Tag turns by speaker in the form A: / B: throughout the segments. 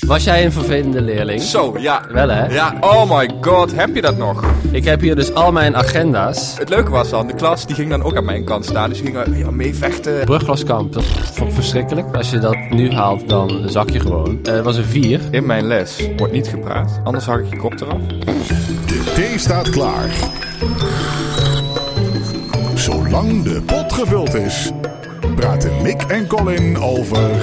A: Was jij een vervelende leerling?
B: Zo, ja.
A: Wel hè?
B: Ja, oh my god, heb je dat nog?
A: Ik heb hier dus al mijn agenda's.
B: Het leuke was dan, de klas die ging dan ook aan mijn kant staan. Dus die gingen ja, mee vechten.
A: Brugklaskamp, dat vond ik verschrikkelijk. Als je dat nu haalt, dan zak je gewoon. Eh, Het was een 4.
B: In mijn les wordt niet gepraat, anders hak ik je kop eraf.
C: De thee staat klaar. Zolang de pot gevuld is, praten Mick en Colin over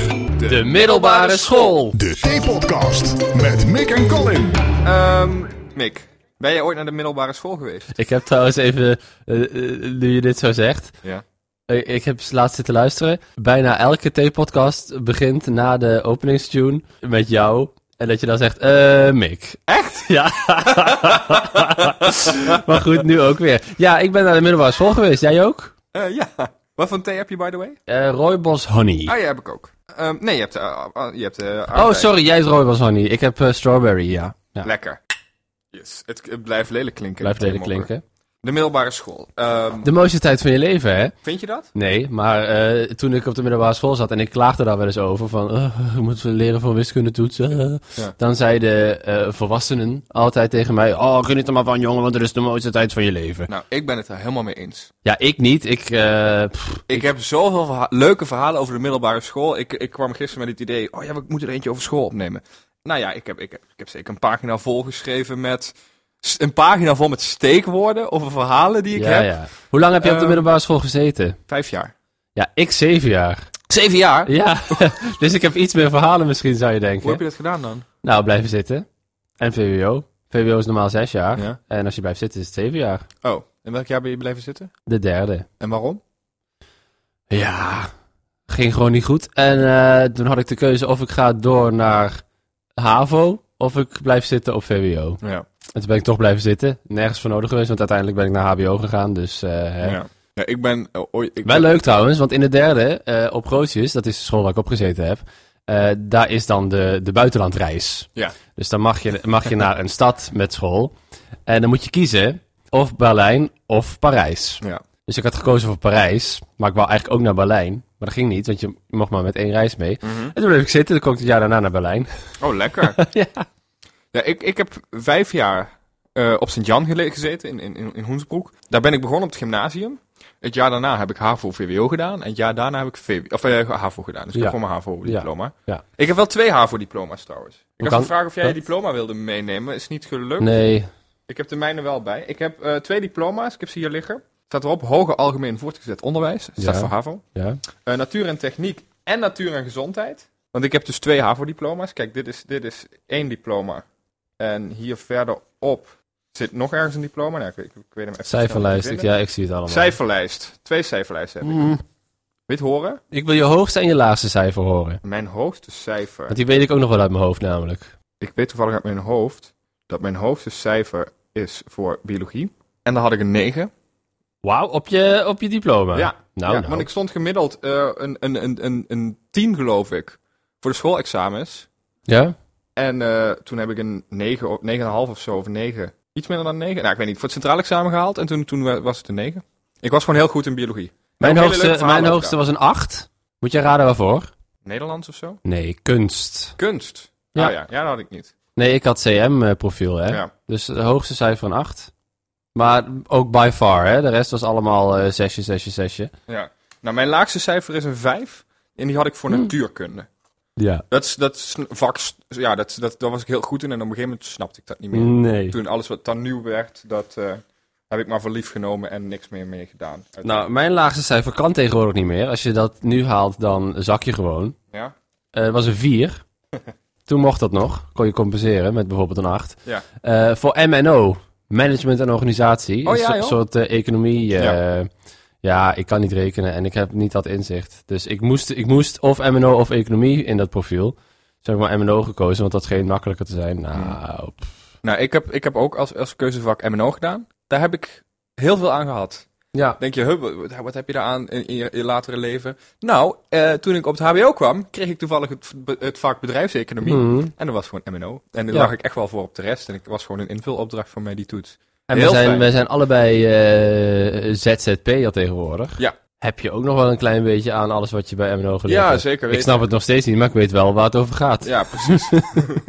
A: De middelbare school.
C: de Thee-podcast met Mick en Colin.
B: Ehm, Mick, ben jij ooit naar de middelbare school geweest?
A: Ik heb trouwens even, eh, eh, nu je dit zo zegt,
B: Ja.
A: Ik ik heb laatst zitten luisteren. Bijna elke T-podcast begint na de openingstune met jou. En dat je dan zegt, eh, Mick.
B: Echt?
A: Ja. maar goed, nu ook weer. Ja, ik ben naar de middelbare school geweest. Jij ook?
B: Eh, ja. Wat voor een thee heb je, by the way?
A: Eh Rooibos Honey.
B: Ah, ja, heb ik ook. Ehm, nee, je hebt... eh, ah, je hebt eh,
A: Oh,
B: aardbei.
A: sorry, jij is Rooibos Honey. Ik heb eh, Strawberry, ja. ja.
B: Lekker. Yes, het, het blijft lelijk klinken.
A: Blijft
B: die
A: lelijk
B: theemoppen.
A: klinken.
B: De middelbare school. Ehm,
A: De mooiste tijd van je leven, hè?
B: vind je dat?
A: Nee, maar eh, toen ik op de middelbare school zat en ik klaagde daar wel eens over van, eh, moeten we leren van wiskundetoetsen? eh.
B: Ja.
A: Dan zeiden eh, volwassenen altijd tegen mij, oh, geniet er maar van jongen, want het is de mooiste tijd van je leven.
B: Nou, ik ben het er helemaal mee eens.
A: Ja, ik niet. Ik, eh, pff,
B: Ik, heb zoveel verha- leuke verhalen over de middelbare school. Ik, ik kwam gisteren met het idee, oh ja, we moeten er eentje over school opnemen. Nou ja, ik heb, ik heb, ik heb zeker een pagina volgeschreven met... s- Een pagina vol met steekwoorden over verhalen die ik
A: ja,
B: heb.
A: ja. Hoe lang heb je op de
B: Eh,
A: middelbare school gezeten?
B: Vijf jaar.
A: Ja, ik zeven jaar.
B: Zeven jaar?
A: Ja, dus ik heb iets meer verhalen misschien, zou je
B: Hoe
A: denken.
B: heb je dat gedaan dan?
A: Nou, blijven zitten. En VWO. VWO is normaal zes jaar.
B: Ja.
A: En als je blijft zitten is het zeven jaar.
B: Oh, in welk jaar ben je blijven zitten?
A: De derde.
B: En waarom?
A: Ja, ging gewoon niet goed. En eh, toen had ik de keuze of ik ga door naar HAVO of ik blijf zitten op VWO.
B: Ja.
A: En toen ben ik toch blijven zitten. Nergens voor nodig geweest, want uiteindelijk ben ik naar HBO gegaan. Dus eh, hè.
B: Ja. Ja, ik ben eh, ooit... Ik
A: wel
B: ben-
A: leuk trouwens, want in de derde, eh, op Grootjes, dat is de school waar ik op gezeten heb, eh, daar is dan de, de buitenlandreis.
B: Ja.
A: Dus dan mag je, mag je naar een stad met school. En dan moet je kiezen of Berlijn of Parijs.
B: Ja.
A: Dus ik had gekozen voor Parijs, maar ik wou eigenlijk ook naar Berlijn. Maar dat ging niet, want je mocht maar met één reis mee.
B: Mhm.
A: En toen bleef ik zitten, dan kwam ik het jaar daarna naar Berlijn.
B: Oh, lekker.
A: Ja.
B: Ja, ik, ik heb vijf jaar eh, op Sint-Jan gele- gezeten in, in- in, in Hoensbroek. Daar ben ik begonnen op het gymnasium. Het jaar daarna heb ik HAVO-VWO gedaan. En het jaar daarna heb ik VW of, eh, HAVO gedaan. Dus ik
A: Ja.
B: heb gewoon mijn HAVO-diploma.
A: Ja.
B: Ik heb wel twee HAVO-diploma's trouwens. Ik had
A: kan-
B: de vraag of jij je
A: wat?
B: diploma wilde meenemen. Is niet gelukt.
A: Nee,
B: Ik heb de mijne wel bij. Ik heb eh, twee diploma's. Ik heb ze hier liggen. Staat erop hoger algemeen voortgezet onderwijs. Staat
A: Ja.
B: voor HAVO.
A: ja.
B: Eh, natuur en techniek en natuur en gezondheid. Want ik heb dus twee HAVO-diploma's. Kijk, dit is, dit is één diploma. En hier verderop zit nog ergens een diploma. Nou, ik, weet- ik weet hem even
A: cijferlijst,
B: snel
A: ik,
B: niet
A: ja, ik zie het allemaal.
B: vinden. Cijferlijst. Twee cijferlijsten heb ik.
A: Mm,
B: Weet horen?
A: ik wil je hoogste en je laagste cijfer horen.
B: Mijn hoogste cijfer.
A: Want die weet ik ook nog wel uit mijn hoofd namelijk.
B: Ik weet toevallig uit mijn hoofd dat mijn hoogste cijfer is voor biologie. En dan had ik een 9.
A: Wauw, op je, op je diploma.
B: ja,
A: Nou,
B: ja,
A: nou.
B: want ik stond gemiddeld eh, een, een, een, een, een 10, geloof ik, voor de schoolexamens.
A: Ja?
B: En eh, toen heb ik een 9, of- 9,5 of zo, of 9. Iets minder dan 9. Nou, ik weet niet. Voor het centraal examen gehaald. En toen, toen wa- was het een 9. Ik was gewoon heel goed in biologie.
A: Mijn
B: hele leuke
A: hoogste,
B: verhalen
A: mijn hoogste was een 8. Moet jij raden waarvoor?
B: Nederlands of zo?
A: Nee, kunst.
B: Kunst.
A: Ja.
B: Ja. ja. ja, dat had ik niet.
A: Nee, ik had CM-profiel, hè.
B: Ja.
A: Dus het hoogste cijfer een 8. Maar ook by far, hè. De rest was allemaal eh, zesje, zesje, zesje.
B: ja. Nou, mijn laagste cijfer is een 5. En die had ik voor
A: Hmm.
B: natuurkunde.
A: Ja.
B: Dat is dat is een vak. s- Ja, dat, dat, daar was ik heel goed in. En op een gegeven moment snapte ik dat niet meer.
A: Nee.
B: Toen alles wat dan nieuw werd, dat eh, heb ik maar voor lief genomen en niks meer mee gedaan.
A: Nou, mijn laagste cijfer kan tegenwoordig niet meer. Als je dat nu haalt, dan zak je gewoon.
B: Ja?
A: Eh het was een 4. Toen mocht dat nog. Kon je compenseren met bijvoorbeeld een 8.
B: Ja.
A: Eh, voor MNO, Management en Organisatie.
B: Oh, ja,
A: een
B: joh.
A: so- soort eh, economie. eh, ja.
B: Ja.
A: ik kan niet rekenen en ik heb niet dat inzicht. Dus ik moest, ik moest of MNO of economie in dat profiel. Zeg maar MNO gekozen, want dat scheen makkelijker te zijn. Nou, pff.
B: Nou, ik heb, ik heb ook als, als keuzevak MNO gedaan. Daar heb ik heel veel aan gehad.
A: ja.
B: Denk je, huh, wat, wat heb je daar aan in, in je, je latere leven? Nou, eh, toen ik op het HBO kwam, kreeg ik toevallig het, be- het vak bedrijfseconomie.
A: Mhm.
B: En dat was gewoon MNO. En daar
A: Ja.
B: lag ik echt wel voor op de rest. En ik was gewoon een invulopdracht voor mij, die toets.
A: En we
B: Heel
A: zijn,
B: fijn.
A: we zijn allebei eh ZZP'er tegenwoordig.
B: Ja.
A: heb je ook nog wel een klein beetje aan alles wat je bij MNO geleerd
B: Ja,
A: hebt.
B: zeker
A: Ik
B: weten.
A: snap het nog steeds niet, maar ik weet wel waar het over gaat.
B: Ja, precies.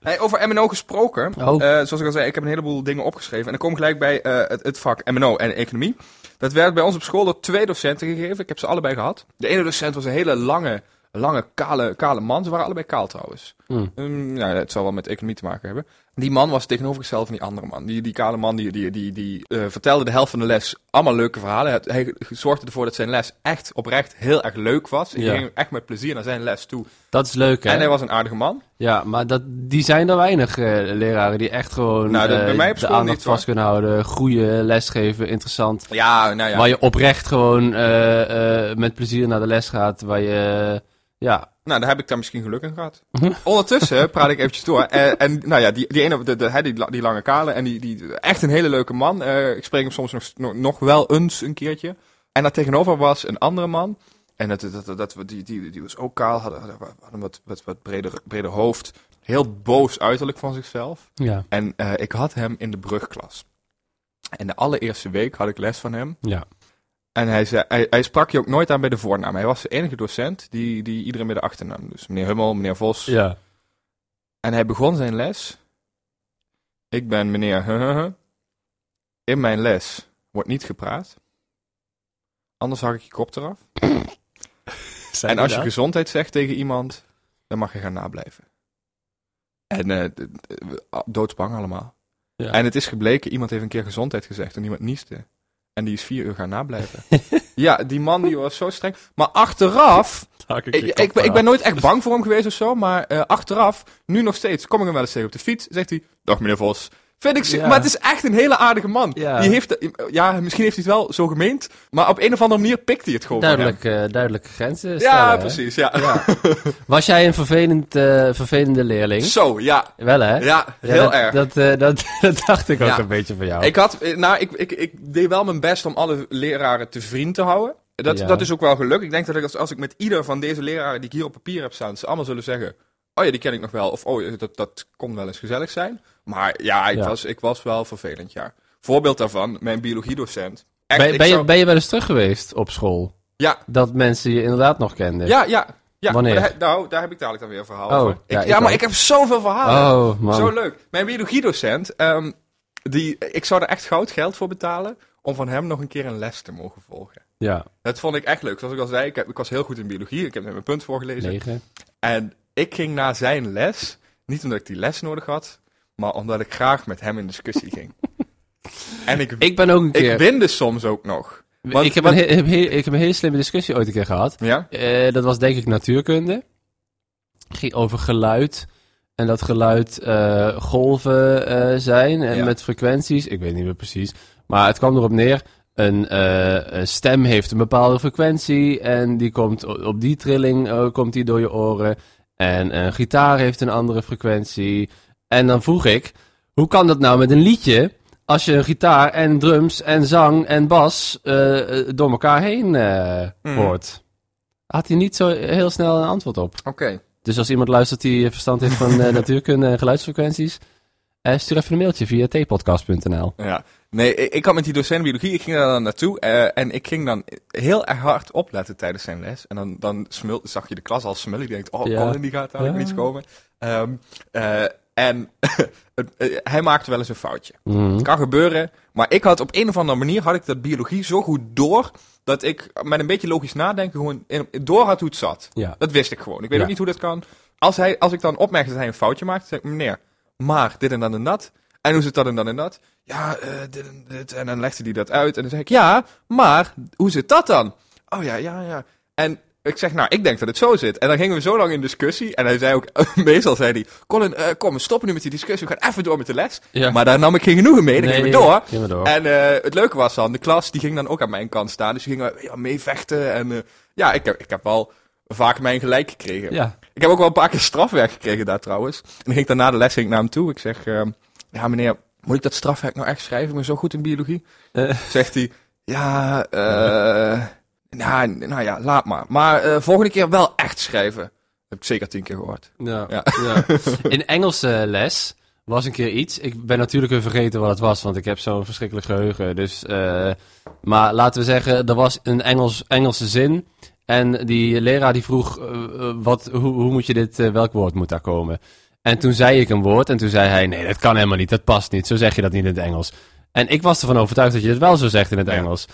B: hey, over MNO gesproken.
A: Oh.
B: Eh, zoals ik al zei, ik heb een heleboel dingen opgeschreven. En dan kom ik gelijk bij eh, het, het vak MNO en economie. Dat werd bij ons op school door twee docenten gegeven. Ik heb ze allebei gehad. De ene docent was een hele lange, lange kale, kale man. Ze waren allebei kaal trouwens.
A: Hmm.
B: Mm, nou, het zal wel met economie te maken hebben. Die man was tegenovergesteld van die andere man. Die, die kale man die, die, die, die eh, vertelde de helft van de les allemaal leuke verhalen. Het- Hij zorgde ervoor dat zijn les echt oprecht heel erg leuk was. Ik
A: Ja.
B: ging echt met plezier naar zijn les toe.
A: Dat is leuk, hè?
B: En hij was een aardige man.
A: Ja, maar dat, die zijn er weinig eh, leraren die echt gewoon
B: Nou, dat
A: eh,
B: bij mij op
A: de
B: school
A: aandacht
B: niet, hoor.
A: vast kunnen houden. Goede lesgeven, interessant.
B: Ja, nou ja.
A: Waar je oprecht gewoon eh, eh, met plezier naar de les gaat. Waar je, eh, ja,
B: Nou, daar heb ik daar misschien geluk in gehad. Ondertussen praat ik eventjes door. En, en nou ja, die, die ene, de, de, hij, die, la- die lange kale, en die, die, echt een hele leuke man. Eh, ik spreek hem soms nog, nog, nog wel eens een keertje. En daar tegenover was een andere man. En dat, dat, dat, dat- die, die, die was ook kaal, had, had, had een wat, wat, wat breder, breder hoofd. Heel boos uiterlijk van zichzelf.
A: ja,
B: En eh, ik had hem in de brugklas. En de allereerste week had ik les van hem.
A: ja.
B: En hij, zei, hij, hij sprak je ook nooit aan bij de voornaam. Hij was de enige docent die, die iedereen bij de achternaam Dus meneer Hummel, meneer Vos.
A: ja.
B: En hij begon zijn les. Ik ben meneer Huhuhu. In mijn les wordt niet gepraat. Anders hak ik je kop eraf. en als je gezondheid zegt tegen iemand, dan mag je gaan nablijven. En eh, d- d- eh, doodsbang allemaal.
A: Ja.
B: En het is gebleken, iemand heeft een keer gezondheid gezegd en iemand nieste. En die is vier uur gaan nablijven. ja, die man die was zo streng. Maar achteraf, ik, ik, ben- ik ben nooit echt bang voor hem geweest of zo, maar eh, achteraf, nu nog steeds, kom ik hem wel eens tegen op de fiets, zegt hij, dag meneer Vos. Vind ik, zo-
A: Ja.
B: Maar het is echt een hele aardige man.
A: Ja.
B: Die heeft, eh, ja, misschien heeft hij het wel zo gemeend, maar op een of andere manier pikt hij het gewoon van hem.
A: Duidelijk, eh, duidelijke grenzen stellen,
B: Ja,
A: hè?
B: precies, ja.
A: Was jij een vervelend, eh, vervelende leerling?
B: Zo, ja.
A: Wel, hè?
B: Ja,
A: Ja,
B: heel
A: dat,
B: erg.
A: Dat, eh, dat, dat dacht ik ook
B: Ja.
A: een beetje van jou.
B: Ik, had, eh, nou, ik, ik, ik deed wel mijn best om alle leraren te vriend te houden. Dat,
A: Ja.
B: dat is ook wel gelukt. Ik denk dat ik als, als ik met ieder van deze leraren die ik hier op papier heb staan, ze allemaal zullen zeggen: Oh ja, die ken ik nog wel. Of oh, ja, dat, dat kon wel eens gezellig zijn. Maar ja, ik,
A: Ja.
B: Was, ik was wel vervelend, ja. Voorbeeld daarvan, mijn biologiedocent. Echt,
A: ben,
B: ik
A: ben, je,
B: zou-
A: ben je wel eens terug geweest op school?
B: Ja.
A: Dat mensen je inderdaad nog kenden?
B: Ja, ja. ja
A: Wanneer?
B: Maar daar- nou, daar heb ik dadelijk dan weer een verhaal
A: Oh,
B: over. Ik-
A: ja,
B: ja,
A: ik
B: maar
A: ook.
B: ik heb zoveel verhalen.
A: Oh, man.
B: Zo leuk. Mijn biologiedocent, ehm, die, ik zou er echt goud geld voor betalen om van hem nog een keer een les te mogen volgen.
A: Ja,
B: Dat vond ik echt leuk. Zoals ik al zei, ik, heb, ik was heel goed in biologie. Ik heb net mijn punt voorgelezen.
A: negen.
B: En ik ging naar zijn les. Niet omdat ik die les nodig had, maar omdat ik graag met hem in discussie ging. En ik, ik,
A: Ik ben ook een keer...
B: winde soms ook nog. want-
A: ik, heb
B: want-
A: een he- heb he- ik heb een hele slimme discussie ooit een keer gehad.
B: Ja?
A: Eh, dat was denk ik natuurkunde. Ging over geluid. En dat geluid eh, golven eh, zijn en
B: Ja.
A: met frequenties. Ik weet niet meer precies. Maar het kwam erop neer. Een, eh, een stem heeft een bepaalde frequentie. En die komt o- op die trilling eh, komt die door je oren. En een gitaar heeft een andere frequentie. En dan vroeg ik, hoe kan dat nou met een liedje? Als je een gitaar en drums en zang en bas eh, eh, door elkaar heen eh,
B: Mm.
A: hoort. Had hij niet zo heel snel een antwoord op.
B: Oké.
A: Dus als iemand luistert die eh, verstand heeft van eh, natuurkunde en geluidsfrequenties, eh, stuur even een mailtje via tpodcast.nl.
B: Ja. Nee, ik, ik had met die docent biologie, ik ging daar dan naartoe eh, en ik ging dan heel erg hard opletten tijdens zijn les. En dan, dan smul, zag je de klas al smullen, die denkt, oh,
A: Ja.
B: Colin die gaat dadelijk
A: Ja.
B: met iets komen. Ehm, eh, en het- eh, hij maakte wel eens een foutje.
A: Mhm.
B: Het kan gebeuren, maar ik had op een of andere manier, had ik dat biologie zo goed door, dat ik met een beetje logisch nadenken gewoon in- door had hoe het zat.
A: Ja.
B: Dat wist ik gewoon. Ik weet
A: Ja.
B: ook niet hoe dat kan. Als, hij, als ik dan opmerkte dat hij een foutje maakte, zei ik, meneer, maar dit en dan en dat. En hoe zit dat en dan en dat? Ja, eh, dit en dit. En dan legde hij dat uit. En dan zeg ik, ja, maar hoe zit dat dan? Oh ja, ja, ja. En ik zeg, nou, ik denk dat het zo zit. En dan gingen we zo lang in discussie. En hij zei ook, meestal zei hij, Colin, eh, kom, we stoppen nu met die discussie. We gaan even door met de les.
A: Ja.
B: Maar daar nam ik geen genoegen mee. Dan gingen we door.
A: Ging maar door.
B: En eh, het leuke was dan, de klas die ging dan ook aan mijn kant staan. Dus die gingen ja, mee vechten. En eh, ja, ik heb, ik heb wel vaak mijn gelijk gekregen.
A: ja.
B: Ik heb ook wel een paar keer strafwerk gekregen daar trouwens. En dan ging ik daarna de les ging ik naar hem toe. Ik zeg, ehm, ja meneer, moet ik dat strafwerk nou echt schrijven? Ik ben zo goed in biologie.
A: Eh.
B: Zegt hij, ja, eh, nou, nou ja, laat maar. Maar eh, volgende keer wel echt schrijven. Heb ik zeker tien keer gehoord.
A: Ja.
B: Ja.
A: ja. In Engelse les was een keer iets. Ik ben natuurlijk weer vergeten wat het was, want ik heb zo'n verschrikkelijk geheugen. Dus, eh, maar laten we zeggen, er was een Engels, Engelse zin. En die leraar die vroeg, eh, eh, wat, hoe, hoe moet je dit, eh, welk woord moet daar komen? En toen zei ik een woord en toen zei hij, nee, dat kan helemaal niet, dat past niet. Zo zeg je dat niet in het Engels. En ik was ervan overtuigd dat je het wel zo zegt in het
B: Ja.
A: Engels.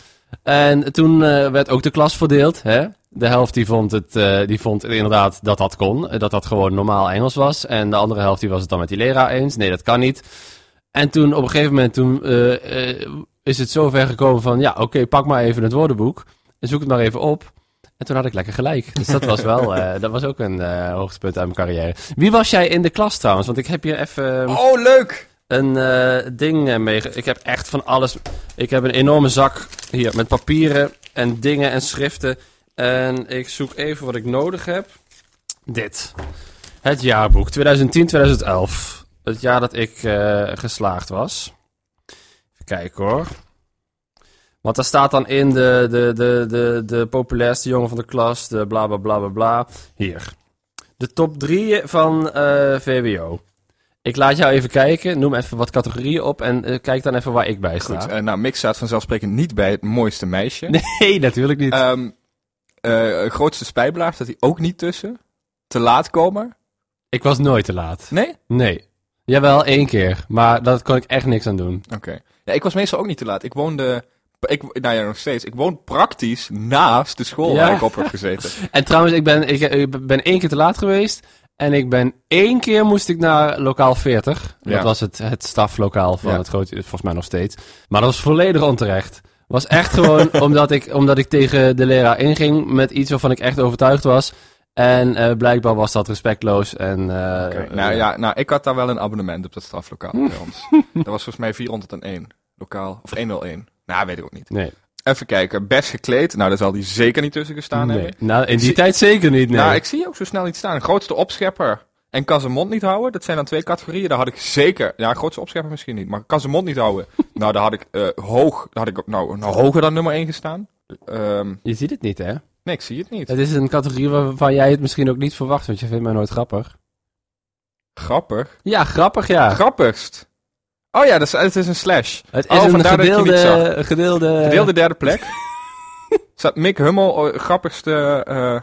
A: En toen eh, werd ook de klas verdeeld. Hè? De helft die vond, het, eh, die vond inderdaad dat dat kon. eh, Dat dat gewoon normaal Engels was. En de andere helft die was het dan met die leraar eens. Nee, dat kan niet. En toen op een gegeven moment toen, eh, eh, is het zover gekomen van... Ja, oké, pak maar even het woordenboek. En zoek het maar even op. En toen had ik lekker gelijk. Dus dat was wel... eh, dat was ook een eh, hoogtepunt uit mijn carrière. Wie was jij in de klas trouwens? Want ik heb hier even
B: Oh, leuk!
A: een eh, ding eh, mee. Ik heb echt van alles. Ik heb een enorme zak hier met papieren en dingen en schriften. En ik zoek even wat ik nodig heb. Dit. Het jaarboek 2010-2011. Het jaar dat ik eh, geslaagd was. Even kijken hoor. Want daar staat dan in de, de, de, de, de populairste jongen van de klas. De bla bla bla bla bla. Hier. De top 3 van eh, VWO. Ik laat jou even kijken. Noem even wat categorieën op en eh, kijk dan even waar ik bij sta.
B: Goed, eh, nou, Mick staat vanzelfsprekend niet bij het mooiste meisje.
A: Nee, natuurlijk niet.
B: Ehm, eh, grootste spijbelaar staat hij ook niet tussen. Te laat komen.
A: ik was nooit te laat.
B: Nee? Oké.
A: Nee. Jawel, één keer. Maar daar kon ik echt niks aan doen.
B: Ja, ik was meestal ook niet te laat. Ik woonde... Ik, nou ja, nog steeds. Ik woon praktisch naast de school
A: Ja.
B: waar ik op heb gezeten.
A: En trouwens, ik ben, ik, ik ben één keer te laat geweest. En ik ben één keer moest ik naar lokaal 40. Dat
B: Ja.
A: was het, het staflokaal van
B: Ja.
A: het grote, volgens mij nog steeds. Maar dat was volledig onterecht. Was echt gewoon omdat ik, omdat ik tegen de leraar inging met iets waarvan ik echt overtuigd was. En eh, blijkbaar was dat respectloos. En, eh,
B: Oké,
A: eh,
B: nou ja, nou, ik had daar wel een abonnement op dat straflokaal bij ons. Dat was volgens mij 401 lokaal, of 101. Nou, weet ik ook niet.
A: Nee.
B: Even kijken, best gekleed. Nou, daar zal die zeker niet tussen gestaan
A: nee.
B: hebben.
A: Nou, in die
B: Zie-
A: tijd zeker niet. Nee.
B: Nou, ik zie je ook zo snel niet staan. Grootste opschepper en kan zijn mond niet houden. Dat zijn dan twee categorieën. Daar had ik zeker, ja, grootste opschepper misschien niet, maar kan zijn mond niet houden. nou, daar had ik eh, hoog, daar had ik nou, nou hoger dan nummer 1 gestaan. Ehm,
A: Je ziet het niet, hè?
B: nee, ik zie het niet.
A: Het is een categorie waarvan jij het misschien ook niet verwacht, want je vindt mij nooit grappig.
B: Grappig.
A: Ja, grappig, ja.
B: Grappigst. Oh ja, dat is, het is een slash.
A: Het is
B: Oh,
A: een
B: vandaar dat je niet zag.
A: gedeelde, gedeelde...
B: Gedeelde derde plek. Staat Mick Hummel, eh, grappigste eh,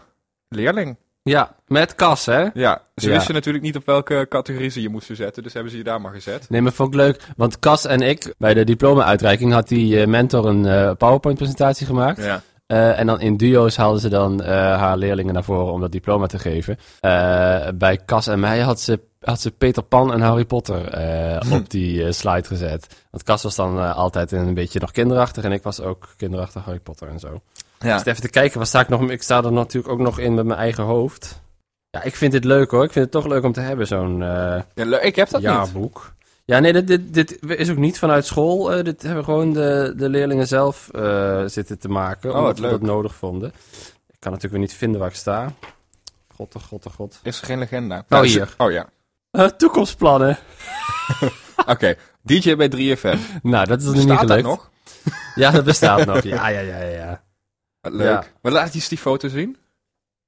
B: leerling.
A: Ja, met kas, hè?
B: Ja, ze
A: Ja.
B: wisten natuurlijk niet op welke categorie ze je moesten zetten, dus hebben ze je daar maar gezet.
A: Nee, maar vond ik leuk, want Kas en ik, bij de diploma-uitreiking, had die eh, mentor een eh, PowerPoint-presentatie gemaakt.
B: Ja.
A: Eh, en dan in duo's haalden ze dan eh, haar leerlingen naar voren om dat diploma te geven. Eh, bij Cas en mij had ze, had ze Peter Pan en Harry Potter eh, op die eh, slide gezet. Want Cas was dan eh, altijd een beetje nog kinderachtig en ik was ook kinderachtig Harry Potter en zo.
B: ja.
A: Dus even te kijken, waar sta ik nog? Ik sta er natuurlijk ook nog in met mijn eigen hoofd. Ja, ik vind dit leuk hoor. Ik vind het toch leuk om te hebben, zo'n eh,
B: leuk, ik heb dat niet.
A: jaarboek. Ja, nee, dit, dit, dit is ook niet vanuit school. Eh, dit hebben gewoon de, de leerlingen zelf eh, zitten te maken.
B: Oh,
A: omdat
B: wat
A: ze
B: leuk.
A: dat nodig vonden. Ik kan natuurlijk weer niet vinden waar ik sta. God, oh god, oh god.
B: Is er geen legenda?
A: Nou,
B: is-
A: hier.
B: Oh ja.
A: Eh, toekomstplannen.
B: Oké, DJ bij 3FM.
A: Nou, dat is nog niet
B: Staat dat
A: gelukt.
B: nog?
A: Ja, dat bestaat nog. Ja, ja, ja, ja, ja.
B: Wat Eh, leuk. Maar laat eens die foto zien.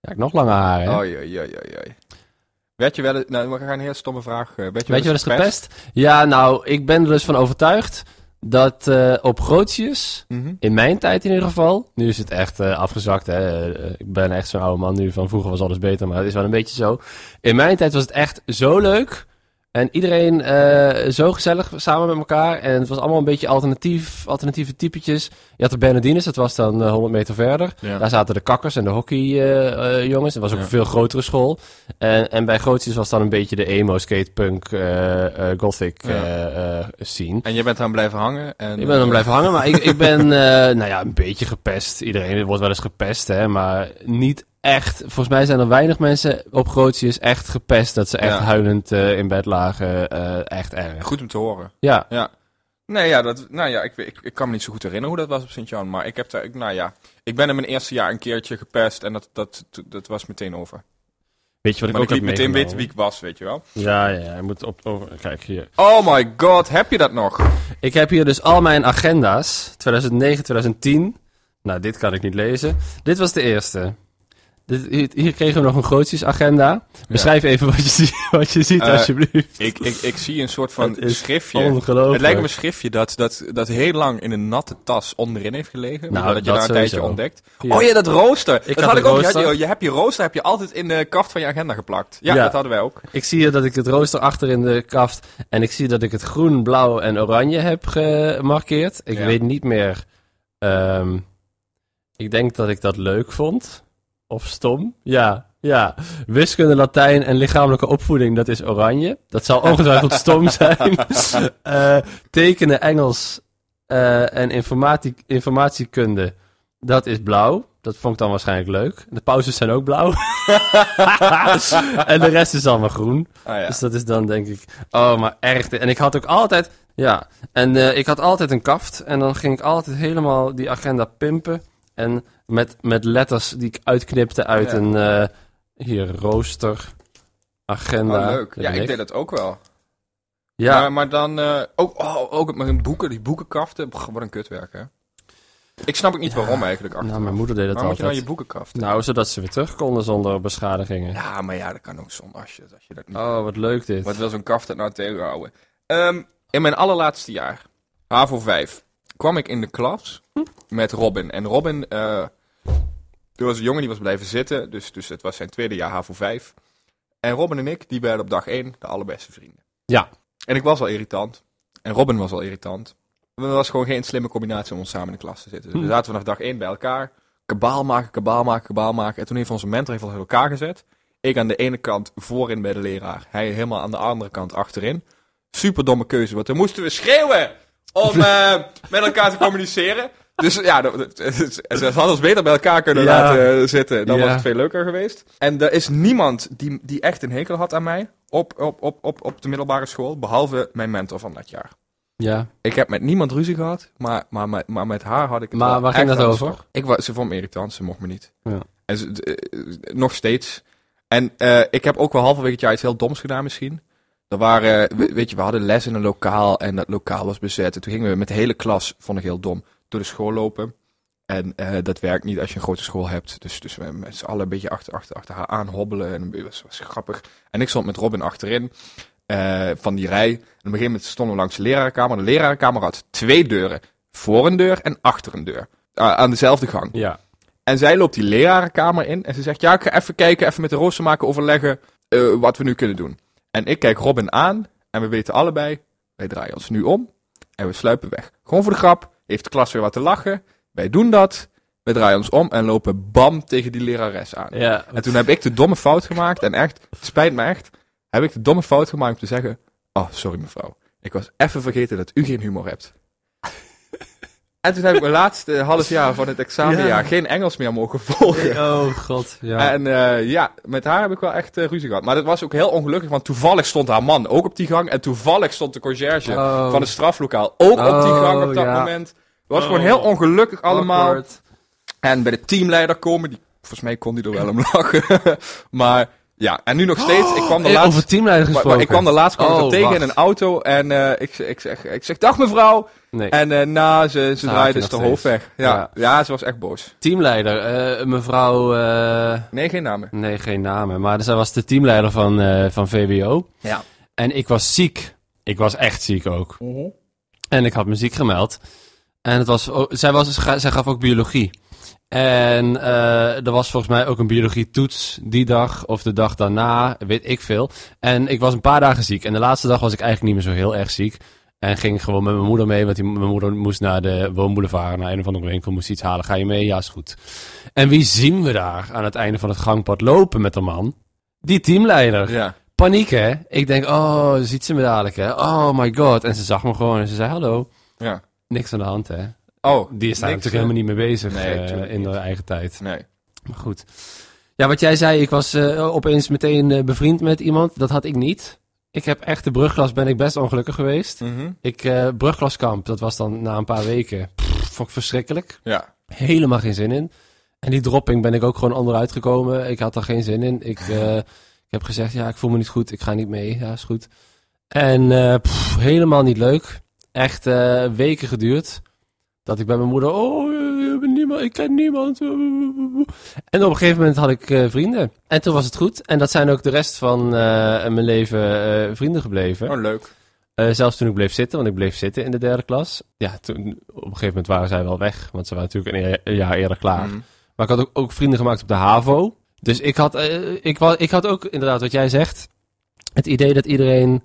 A: Ja, ik nog lange haren. hè?
B: Oh, joi, joi, joi, joi. Werd je wel eens... Nou, we gaan een hele stomme vraag. eh, Werd je,
A: Weet je wel eens gepest? Ja, nou, ik ben er dus van overtuigd dat eh, op grootjes,
B: Mhm.
A: in mijn tijd in ieder geval, nu is het echt eh, afgezakt. Hè? eh, ik ben echt zo'n oude man nu, van vroeger was alles beter, maar het is wel een beetje zo. In mijn tijd was het echt zo leuk en iedereen eh, zo gezellig samen met elkaar. En het was allemaal een beetje alternatief, alternatieve typetjes. Je had de Bernardines, dat was dan eh, 100 meter verder.
B: Ja.
A: Daar zaten de kakkers en de hockeyjongens. jongens. het was ook
B: Ja.
A: een veel grotere school. En, en bij Grootjes was dan een beetje de emo, skatepunk, eh, eh, gothic eh
B: Ja.
A: eh, scene.
B: En je bent aan blijven hangen. En, eh,
A: Ik ben dan blijven hangen, maar ik, ik ben eh, nou ja, een beetje gepest. Iedereen wordt wel eens gepest, hè, maar niet echt. Volgens mij zijn er weinig mensen op Grootjes echt gepest. Dat ze echt
B: Ja.
A: huilend eh, in bed lagen. eh, echt erg.
B: Goed om te horen.
A: Ja,
B: Nee, ja, dat, nou ja, ik, weet- ik, ik kan me niet zo goed herinneren hoe dat was op Sint-Jan. Maar ik heb daar, ik- nou ja, ik ben in mijn eerste jaar een keertje gepest en dat, dat, dat was meteen over.
A: weet je wat ik
B: Maar
A: ook
B: ik liet
A: heb
B: meteen weten
A: meegenomen?
B: wie ik was, weet je wel.
A: Ja, ja, je moet op, over- kijk hier.
B: Oh my god, heb je dat nog?
A: Ik heb hier dus al mijn agenda's. 2009, 2010. Nou, dit kan ik niet lezen. Dit was de eerste. Dit- hier- Hier kregen we nog een grootjesagenda. Beschrijf even wat je, zie- wat je ziet,
B: Eh,
A: alsjeblieft.
B: Ik, ik, ik zie een soort
A: Het
B: van
A: is
B: schriftje.
A: Ongelooflijk.
B: Het lijkt me een schriftje dat, dat, dat heel lang in een natte tas onderin heeft gelegen.
A: Nou,
B: maar dat je
A: dat
B: daar een
A: sowieso.
B: tijdje ontdekt.
A: Ja.
B: Oh ja, dat rooster. dat
A: had
B: had ik
A: een
B: ook. Je,
A: rooster.
B: had- je hebt je rooster heb je altijd in de kaft van je agenda geplakt. Ja,
A: Ja.
B: dat hadden wij ook.
A: Ik zie hier dat ik het rooster achter in de kaft. En ik zie dat ik het groen, blauw en oranje heb gemarkeerd. Ik
B: Ja.
A: weet niet meer. ehm, ik denk dat ik dat leuk vond. Of stom. Ja, ja. Wiskunde, Latijn en lichamelijke opvoeding, dat is oranje. Dat zal ongetwijfeld stom zijn. Eh, tekenen, Engels eh, en informatie, informatiekunde, dat is blauw. Dat vond ik dan waarschijnlijk leuk. De pauzes zijn ook blauw. en de rest is allemaal groen.
B: Ah, ja.
A: Dus dat is dan denk ik, oh, maar erg. En ik had ook altijd, ja, en eh, ik had altijd een kaft. En dan ging ik altijd helemaal die agenda pimpen. En met, met letters die ik uitknipte uit
B: Ja.
A: een, eh, hier, rooster, agenda.
B: Oh, leuk.
A: Dat
B: Ja,
A: ben
B: ik deed dat ook wel.
A: Ja,
B: Maar, maar dan eh, ook, oh, ook met mijn boeken, die boekenkaften. Pff, wat een kutwerk, hè? Ik snap ook niet waarom eigenlijk. Achter.
A: nou, mijn moeder deed dat
B: Waarom moet je
A: altijd.
B: nou je boekenkaft?
A: Nou, zodat ze weer terug konden zonder beschadigingen.
B: Ja, maar ja, dat kan ook zonder als je, als je dat niet...
A: Oh, wat leuk dit.
B: Wat wil zo'n kaft dat nou tegenhouden? Ehm, in mijn allerlaatste jaar, HAVO 5, kwam ik in de klas met Robin. En Robin, eh er was een jongen die was blijven zitten, dus, dus het was zijn tweede jaar HAVO 5. En Robin en ik, die werden op dag 1 de allerbeste vrienden.
A: Ja.
B: En ik was al irritant. En Robin was al irritant. Er was gewoon geen slimme combinatie om ons samen in de klas te zitten. Dus we zaten vanaf dag 1 bij elkaar. Kabaal maken, kabaal maken, kabaal maken. En toen heeft onze mentor heeft ons uit elkaar gezet. Ik aan de ene kant voorin bij de leraar. Hij helemaal aan de andere kant achterin. Super domme keuze, want dan moesten we schreeuwen om eh, met elkaar te communiceren. Dus ja, dat, dat- ze hadden ons beter bij elkaar kunnen
A: Ja.
B: laten zitten. Dan
A: Ja.
B: was het veel leuker geweest. En er is niemand die, die echt een hekel had aan mij op, op, op, op, op de middelbare school, behalve mijn mentor van dat jaar.
A: Ja.
B: Ik heb met niemand ruzie gehad, maar, maar, maar, maar met haar had ik het
A: Maar
B: wel
A: waar ging
B: echt
A: dat
B: aan de
A: over?
B: stok. Ik, wa- ze vond me irritant, ze mocht me niet.
A: Ja.
B: En ze- d- eh, eh, nog steeds. En eh, ik heb ook wel halverwege het jaar iets heel doms gedaan misschien. Er waren, eh, we- weet je, we hadden les in een lokaal en dat lokaal was bezet. En toen gingen we met de hele klas, vond ik heel dom, door de school lopen. En eh, dat werkt niet als je een grote school hebt. Dus, dus we met z'n allen een beetje achter, achter, achter haar aan hobbelen. En dat was, was grappig. En ik stond met Robin achterin eh, van die rij. En op een gegeven moment stonden we langs de lerarenkamer. De lerarenkamer had twee deuren. Voor een deur en achter een deur. Ah, aan dezelfde gang.
A: Ja.
B: En zij loopt die lerarenkamer in en ze zegt: Ja, ik ga even kijken, even met de rooster maken, overleggen eh, wat we nu kunnen doen. En ik kijk Robin aan en we weten allebei: wij draaien ons nu om en we sluipen weg. Gewoon voor de grap, heeft de klas weer wat te lachen. Wij doen dat, we draaien ons om en lopen bam tegen die lerares aan.
A: Ja.
B: En toen heb ik de domme fout gemaakt en echt, het spijt me echt, heb ik de domme fout gemaakt om te zeggen: Oh, sorry mevrouw, ik was even vergeten dat u geen humor hebt. En toen heb ik mijn laatste half jaar van het examenjaar
A: Ja.
B: geen Engels meer mogen volgen.
A: Oh, god. Ja.
B: En eh, ja, met haar heb ik wel echt eh, ruzie gehad. Maar dat was ook heel ongelukkig, want toevallig stond haar man ook op die gang. En toevallig stond de conciërge
A: Oh.
B: van het straflokaal ook op die gang op dat
A: Oh, ja.
B: moment. Het was gewoon heel ongelukkig allemaal.
A: Awkward.
B: En bij de teamleider komen, die, volgens mij kon die er wel om lachen. maar ja, en nu nog steeds. Ik kwam de
A: Eh,
B: laatst,
A: Over teamleider
B: maar- maar
A: gesproken.
B: ik kwam de laatst kwam ik
A: Oh,
B: haar tegen
A: wacht.
B: in een auto en eh, ik, ik, zeg, ik zeg, dag mevrouw.
A: Nee.
B: En eh, na, ze, ze
A: Ah,
B: draaide
A: ik
B: dus de
A: nog
B: hoofd
A: steeds.
B: weg. Ja,
A: Ja.
B: ja. ze was echt boos.
A: Teamleider, eh, mevrouw... eh,
B: Nee, geen namen.
A: nee, geen namen. Maar zij was de teamleider van, eh, van VWO.
B: Ja.
A: En ik was ziek. Ik was echt ziek ook. En ik had muziek gemeld. En het was, ook- zij, was, zij gaf ook biologie. En eh, er was volgens mij ook een biologietoets die dag of de dag daarna, weet ik veel. En ik was een paar dagen ziek. En de laatste dag was ik eigenlijk niet meer zo heel erg ziek. En ging gewoon met mijn moeder mee, want die, mijn moeder moest naar de woonboulevard, naar een of andere winkel, moest iets halen. Ga je mee? Ja, is goed. En wie zien we daar aan het einde van het gangpad lopen met de man? Die teamleider
B: Ja.
A: paniek, hè? Ik denk, oh, ziet ze me dadelijk, hè? Oh my god. En ze zag me gewoon en ze zei, hallo.
B: ja.
A: Niks aan de hand, hè?
B: Oh,
A: Die is daar natuurlijk
B: niks,
A: helemaal niet mee bezig
B: Nee,
A: eh,
B: tuurlijk
A: in
B: niet.
A: haar eigen tijd.
B: Nee.
A: Maar goed. Ja, wat jij zei, ik was eh, opeens meteen eh, bevriend met iemand. Dat had ik niet. Ik heb echt de brugklas, ben ik best ongelukkig geweest.
B: Mhm.
A: Ik, eh brugklaskamp, dat was dan na een paar weken. Pff, vond ik verschrikkelijk
B: Ja.
A: helemaal geen zin in. En die dropping ben ik ook gewoon onderuit gekomen. Ik had er geen zin in. Ik, eh, ik heb gezegd, ja, ik voel me niet goed. Ik ga niet mee. Ja, is goed. En eh, pff, helemaal niet leuk. Echt eh, weken geduurd. Dat ik bij mijn moeder, oh, eh, ik, ben niemand, ik ken niemand. En op een gegeven moment had ik eh, vrienden. En toen was het goed. En dat zijn ook de rest van eh, mijn leven eh, vrienden gebleven.
B: Oh, leuk.
A: Eh, zelfs toen ik bleef zitten, want ik bleef zitten in de derde klas. Ja, toen, op een gegeven moment waren zij wel weg. Want ze waren natuurlijk een, e- een jaar eerder klaar.
B: Mm.
A: Maar ik had ook, ook vrienden gemaakt op de HAVO. Dus ik had, eh, ik, wa- ik had ook inderdaad wat jij zegt. Het idee dat iedereen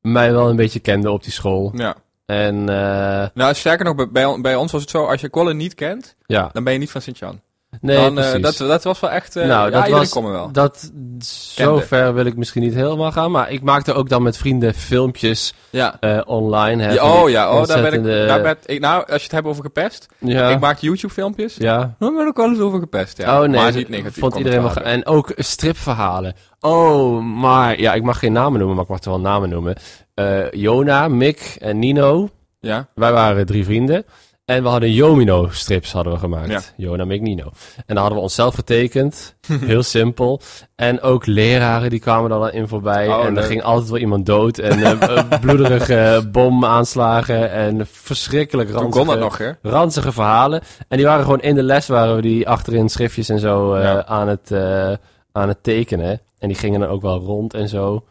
A: mij wel een beetje kende op die school.
B: Ja.
A: En eh,
B: Nou, sterker nog, bij- bij, bij ons was het zo, als je Colin niet kent,
A: ja,
B: dan ben je niet van Sint-Jan.
A: nee,
B: dan, eh,
A: precies.
B: dat, dat was wel echt, eh,
A: Nou,
B: ja,
A: dat
B: iedereen
A: was-
B: kon er wel.
A: Dat, zo
B: Kende.
A: ver wil ik misschien niet helemaal gaan. Maar ik maakte ook dan met vrienden filmpjes
B: Ja.
A: eh, online. Hè,
B: Ja,
A: van die
B: oh ja, oh, daar ben ik,
A: ontzettende-
B: daar ben ik, nou, als je het hebt over gepest,
A: ja,
B: ik maak YouTube-filmpjes,
A: ja.
B: dan ben ik wel eens over gepest, ja.
A: oh nee,
B: maar
A: dat
B: niet negatief.
A: vond iedereen wel... ge-
B: commentaar.
A: En ook stripverhalen. Oh, maar... Ja, ik mag geen namen noemen, maar ik mag er wel namen noemen. Eh Jona, Mick en Nino.
B: Ja,
A: Wij waren drie vrienden. En we hadden Jomino-strips hadden we gemaakt.
B: Ja.
A: Jona, Mick, Nino. En daar hadden we onszelf getekend. Heel simpel. En ook leraren, die kwamen daar dan in voorbij.
B: Oh,
A: en er
B: leuk.
A: ging altijd wel iemand dood. En eh, eh, bloederige bomaanslagen. En verschrikkelijk
B: toen
A: ranzige
B: kon dat nog, hè.
A: ranzige verhalen. En die waren gewoon in de les, waren we die achterin schriftjes en zo eh,
B: Ja.
A: aan, het, eh, aan het tekenen. En die gingen dan ook wel rond en zo.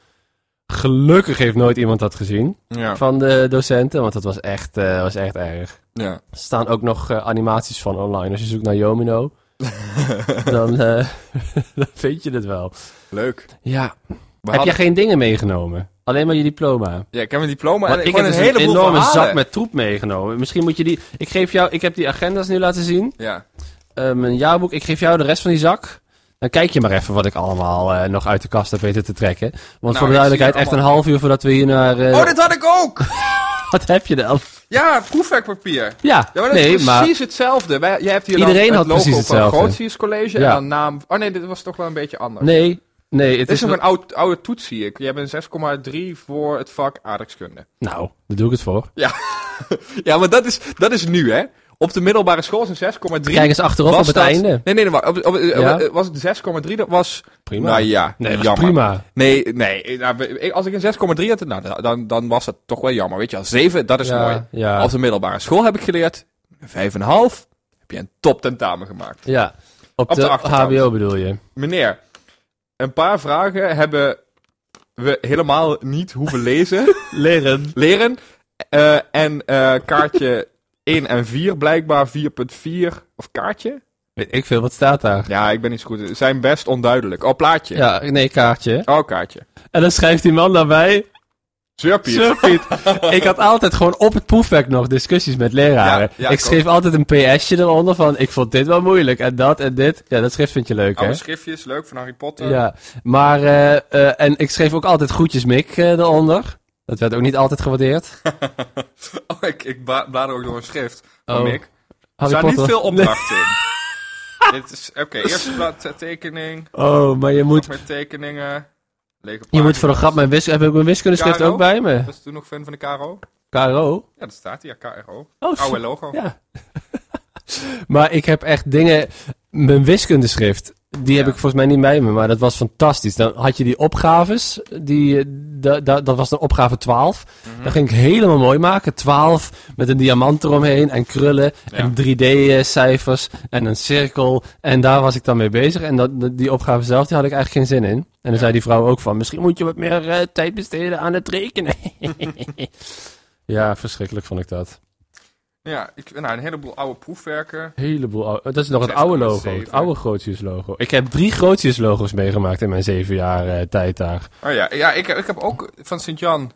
A: Gelukkig heeft nooit iemand dat gezien
B: Ja,
A: van de docenten, want dat was echt, eh, was echt erg.
B: ja.
A: Er staan ook nog eh, animaties van online. Als je zoekt naar Yomino, dan, eh, dan vind je het wel.
B: Leuk.
A: Ja.
B: We
A: Heb
B: hadden-
A: je geen dingen meegenomen? Alleen maar je diploma.
B: Ja, ik heb een diploma en
A: Want ik heb
B: gewoon
A: dus
B: een
A: een
B: heleboel
A: enorme
B: verhalen.
A: zak met troep meegenomen. Misschien moet je die... Ik, geef jou, ik heb die agendas nu laten zien.
B: Ja,
A: Eh, mijn jaarboek. Ik geef jou de rest van die zak. Dan kijk je maar even wat ik allemaal eh, nog uit de kast heb weten te trekken. Want voor de
B: Nou, ik
A: duidelijkheid,
B: zie er
A: echt een half uur voordat we hier naar... eh,
B: oh, dit had ik ook!
A: Wat heb je dan?
B: Ja, proefwerkpapier.
A: Ja,
B: Ja, maar dat
A: nee,
B: is
A: maar...
B: precies hetzelfde. Wij, jij hebt hier
A: Iedereen
B: dan
A: had
B: het logo
A: precies
B: van
A: hetzelfde.
B: Grotius College
A: Ja.
B: en dan naam... Oh nee, dit was toch wel een beetje anders.
A: Nee, nee, het
B: Dit is
A: is...
B: nog
A: wel-
B: een oud, oude toets, zie ik. Je hebt een 6,3 voor het vak aardrijkskunde.
A: Nou, daar doe ik het voor.
B: Ja, maar dat is, dat is nu, hè? Op de middelbare school is een 6,3.
A: Kijk eens achterop op het
B: dat-
A: einde.
B: Nee, nee, nee. maar Op, op,
A: Ja?
B: eh, Was het 6,3? Dat was...
A: Prima.
B: Nou ja,
A: nee, dat is
B: jammer.
A: prima.
B: Nee, nee. eh, nou, ik- Als ik een 6,3 had, nou, dan, dan was dat toch wel jammer. Weet je wel, 7, dat is
A: ja,
B: mooi.
A: Ja,
B: Op de middelbare school heb ik geleerd, 5,5 heb je een top tentamen gemaakt.
A: ja. Op,
B: Op
A: de,
B: de achterkant.
A: HBO bedoel je.
B: Meneer, een paar vragen hebben we helemaal niet hoeven lezen,
A: Leren.
B: leren. Eh, en eh, kaartje 1 en 4, blijkbaar 4.4, of kaartje?
A: Weet ik veel, wat staat daar?
B: Ja, ik ben niet zo goed. Ze zijn best onduidelijk. Oh, plaatje.
A: Ja, nee, kaartje.
B: Oh, kaartje.
A: En dan schrijft die man daarbij...
B: Surpiet.
A: Surfiet. ik had altijd gewoon op het proefwerk nog discussies met leraren.
B: Ja, ja,
A: ik schreef altijd een PS'je eronder van... Ik vond dit wel moeilijk en dat en dit. Ja, dat schrift vind je leuk, hè?
B: Oude schriftjes, leuk, van Harry Potter.
A: Ja, maar... eh, eh, en ik schreef ook altijd groetjes Mick eh, eronder. Dat werd ook niet altijd gewaardeerd.
B: Oh, ik, ik bla- blader ook door een schrift van
A: Oh.
B: Mick. Er
A: Harry
B: staan niet
A: Potter.
B: veel opdrachten in. Dit is, oké, eerste blad eh, tekening,
A: Oh, maar je moet...
B: nog meer tekeningen, lege
A: Je moet
B: pagina's.
A: voor een grap mijn wiskunde... Heb ik mijn wiskundeschrift
B: Karo?
A: ook bij me?
B: Was toen nog fan van de KRO?
A: KRO?
B: Ja, dat staat hier, KRO.
A: Oh,
B: Oude logo.
A: Ja. maar ik heb echt dingen. Mijn wiskundeschrift, die heb
B: Ja.
A: ik volgens mij niet bij me, maar dat was fantastisch. Dan had je die opgaves, die, eh, da- da- dat was dan opgave 12. Dat ging ik helemaal mooi maken. 12 met een diamant eromheen en krullen en 3D-cijfers en een cirkel. En daar was ik dan mee bezig. En dat, dat- die opgave zelf, die had ik eigenlijk geen zin in. En dan zei die vrouw ook van, misschien moet je wat meer eh, tijd besteden aan het rekenen. ja, verschrikkelijk vond ik dat.
B: Ja, ik, nou, een heleboel oude proefwerken.
A: heleboel oude- Dat is nog het oude logo,
B: 6,7.
A: het oude Grotius logo. Ik heb drie Grotius logo's meegemaakt in mijn zeven jaar eh, tijd daar.
B: Oh ja, ja ik, heb- ik heb ook van Sint-Jan.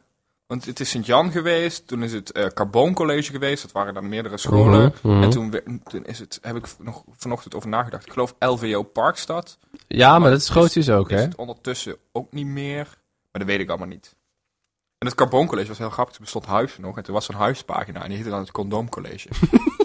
B: Want het is Sint-Jan geweest, toen is het eh Carbon College geweest, dat waren dan meerdere scholen.
A: Mhm, mhm.
B: En toen, we- toen is het, heb ik nog vanochtend over nagedacht, ik geloof LVO Parkstad.
A: Ja, maar dat is Grotius ook,
B: Is
A: hè?
B: het ondertussen ook niet meer. Maar dat weet ik allemaal niet. En het Carbon College was heel grappig. Er bestond huis nog. En toen was er een huispagina. En die heette dan het Condoom College.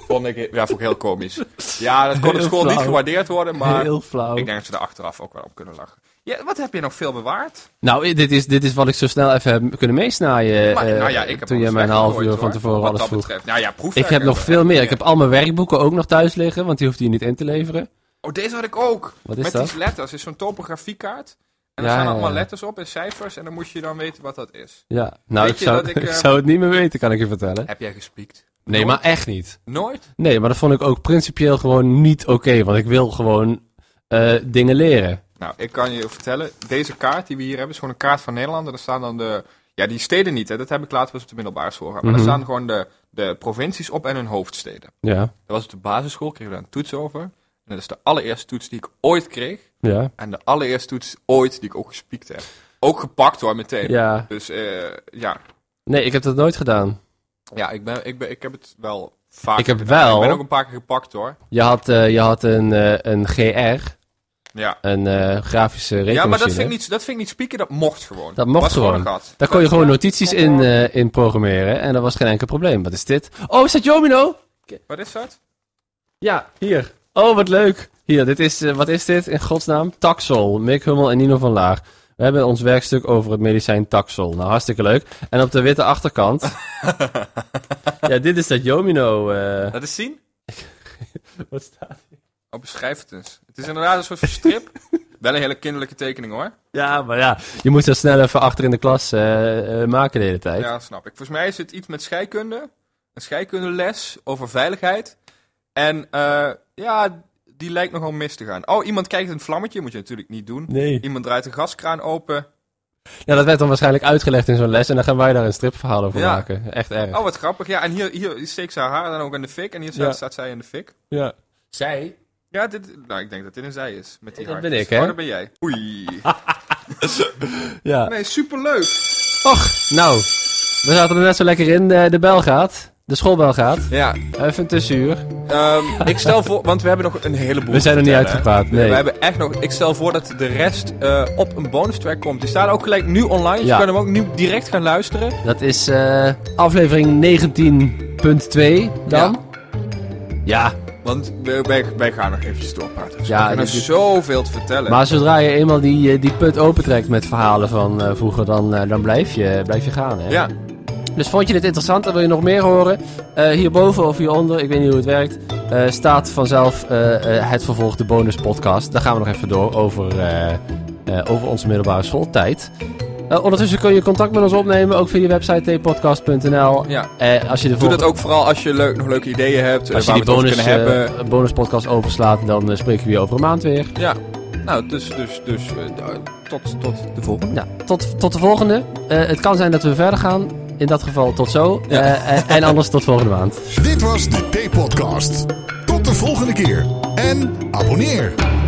B: vond ik, he- ja, vond ik heel komisch. Ja, dat kon op
A: Heel
B: school niet
A: flauw.
B: gewaardeerd worden. Maar
A: Heel flauw.
B: ik denk dat ze daar achteraf ook wel op kunnen lachen. Ja, wat heb je nog veel bewaard?
A: Nou, i- dit is, dit is wat ik zo snel even heb kunnen meesnaaien.
B: Maar,
A: eh,
B: nou ja, ik heb
A: toen je
B: alles
A: mij een half
B: weggegooid,
A: uur van
B: hoor,
A: tevoren
B: wat
A: alles
B: dat
A: vroeg.
B: Betreft. Nou ja, proef
A: Ik heb nog veel meer. Ik heb al mijn werkboeken ook nog thuis liggen, want die hoefde je niet in te leveren.
B: Oh, deze had ik ook.
A: Wat is
B: Met
A: dat?
B: die letters. is zo'n topografiekaart.
A: Ja,
B: En daar staan
A: ja,
B: allemaal
A: ja.
B: letters op en cijfers. En dan moest je dan weten wat dat is.
A: Ja, nou,
B: Weet
A: ik
B: je
A: zou,
B: dat
A: ik,
B: ik, eh,
A: zou het niet meer weten, kan ik je vertellen.
B: Heb jij gespiekt?
A: Nee, maar echt niet.
B: Nooit?
A: Nee, maar dat vond ik ook principieel gewoon niet oké. want ik wil gewoon eh, dingen leren.
B: Nou, ik kan je vertellen, deze kaart die we hier hebben, is gewoon een kaart van Nederland. En daar staan dan de... Ja, die steden niet, hè. Dat heb ik later pas op de middelbare school gehad. Maar
A: Mhm.
B: daar staan gewoon de, de provincies op en hun hoofdsteden.
A: Ja,
B: Dat was op de basisschool, kregen we daar een toets over. En dat is de allereerste toets die ik ooit kreeg.
A: ja,
B: En de allereerste toets ooit die ik ook gespiekt heb. Ook gepakt hoor, meteen.
A: ja.
B: Dus eh, ja,
A: Nee, ik heb dat nooit gedaan.
B: ja ik, ben, ik, ben, ik heb het wel vaak
A: Ik heb
B: gedaan.
A: wel-
B: Ah, Ik ben ook een paar keer gepakt hoor.
A: Je had, eh, je had een, eh, een GR,
B: Ja.
A: een eh, grafische rekenmachine.
B: Ja, maar dat vind, ik niet, dat vind ik niet spieken, dat mocht gewoon.
A: Dat mocht
B: Was
A: gewoon.
B: een gat.
A: Daar kon je gewoon
B: Ja,
A: notities
B: kom
A: in,
B: maar.
A: eh, in programmeren en dat was geen enkel probleem. Wat is dit? Oh, is dat Jomino?
B: Wat is dat?
A: Ja, hier. Oh, wat leuk. Hier, dit is, eh, wat is dit in godsnaam? Taxol, Mick Hummel en Nino van Laag. We hebben ons werkstuk over het medicijn Taxol. Nou, hartstikke leuk. En op de witte achterkant... ja, dit is dat Jomino... eh,
B: Laat eens zien.
A: wat staat hier?
B: Oh, beschrijf het eens. Het is inderdaad een soort van strip. wel een hele kinderlijke tekening hoor.
A: Ja, maar ja, je moest dat snel even achter in de klas eh, eh, maken de hele tijd.
B: Ja, dat snap ik. Volgens mij is het iets met scheikunde. Een scheikundeles over veiligheid. En eh, ja, die lijkt nogal mis te gaan. Oh, iemand kijkt een vlammetje. Moet je natuurlijk niet doen.
A: Nee.
B: Iemand draait een gaskraan open.
A: Ja, dat werd dan waarschijnlijk uitgelegd in zo'n les en dan gaan wij daar een stripverhaal over
B: Ja.
A: maken. Echt erg.
B: Oh, wat grappig. Ja, en hier, hier steekt ze haar haar dan ook in de fik. En hier staat,
A: Ja.
B: staat zij in de fik.
A: Ja. Zij?
B: Ja, dit, nou, ik denk dat dit een zij is. Met die
A: Dat
B: haartjes.
A: ben ik, hè?
B: Oh, dat ben jij. Oei.
A: Ja.
B: Nee, superleuk.
A: Och, nou, we zaten er net zo lekker in. eh, De, de bel gaat. De schoolbel gaat.
B: Ja,
A: Even een tussenuur.
B: Ehm, ik stel voor, want we hebben nog een heleboel.
A: We zijn
B: te
A: er niet
B: vertellen, hè.
A: uitgepraat, nee.
B: We hebben echt nog. Ik stel voor dat de rest eh, op een bonus track komt. Die staan ook gelijk nu online. dus
A: Ja.
B: Je kan hem ook nu direct gaan luisteren.
A: Dat is eh, aflevering 19.2 dan. Ja.
B: Want we- wij, wij gaan nog eventjes doorpraten. Dus
A: Ja,
B: we kunnen
A: dit- dit-
B: zoveel te vertellen.
A: maar zodra je eenmaal die, eh, die put opentrekt met verhalen van eh, vroeger, dan, eh, dan blijf, je, blijf je gaan. Hè?
B: ja,
A: Dus vond je dit interessant en wil je nog meer horen? Eh, hierboven of hieronder, ik weet niet hoe het werkt, eh, staat vanzelf eh, eh, het vervolg, de bonus podcast. Daar gaan we nog even door over, eh, eh, over onze middelbare schooltijd. Eh, ondertussen kun je contact met ons opnemen, ook via de website tpodcast.nl.
B: ja.
A: Eh, als je de
B: Doe
A: volgende-
B: dat ook vooral als je leuk, nog leuke ideeën hebt. eh,
A: als je
B: waar
A: die
B: we het
A: bonus,
B: over kunnen hebben.
A: eh, bonuspodcast overslaat, dan eh, spreken we je over een maand weer.
B: Ja. Nou, dus, dus, dus eh, nou, tot, tot de volgende.
A: Ja, tot, tot de volgende. Eh, het kan zijn dat we verder gaan. In dat geval tot zo. Eh, en- en anders tot volgende maand.
C: Dit was de T-podcast. Tot de volgende keer en abonneer.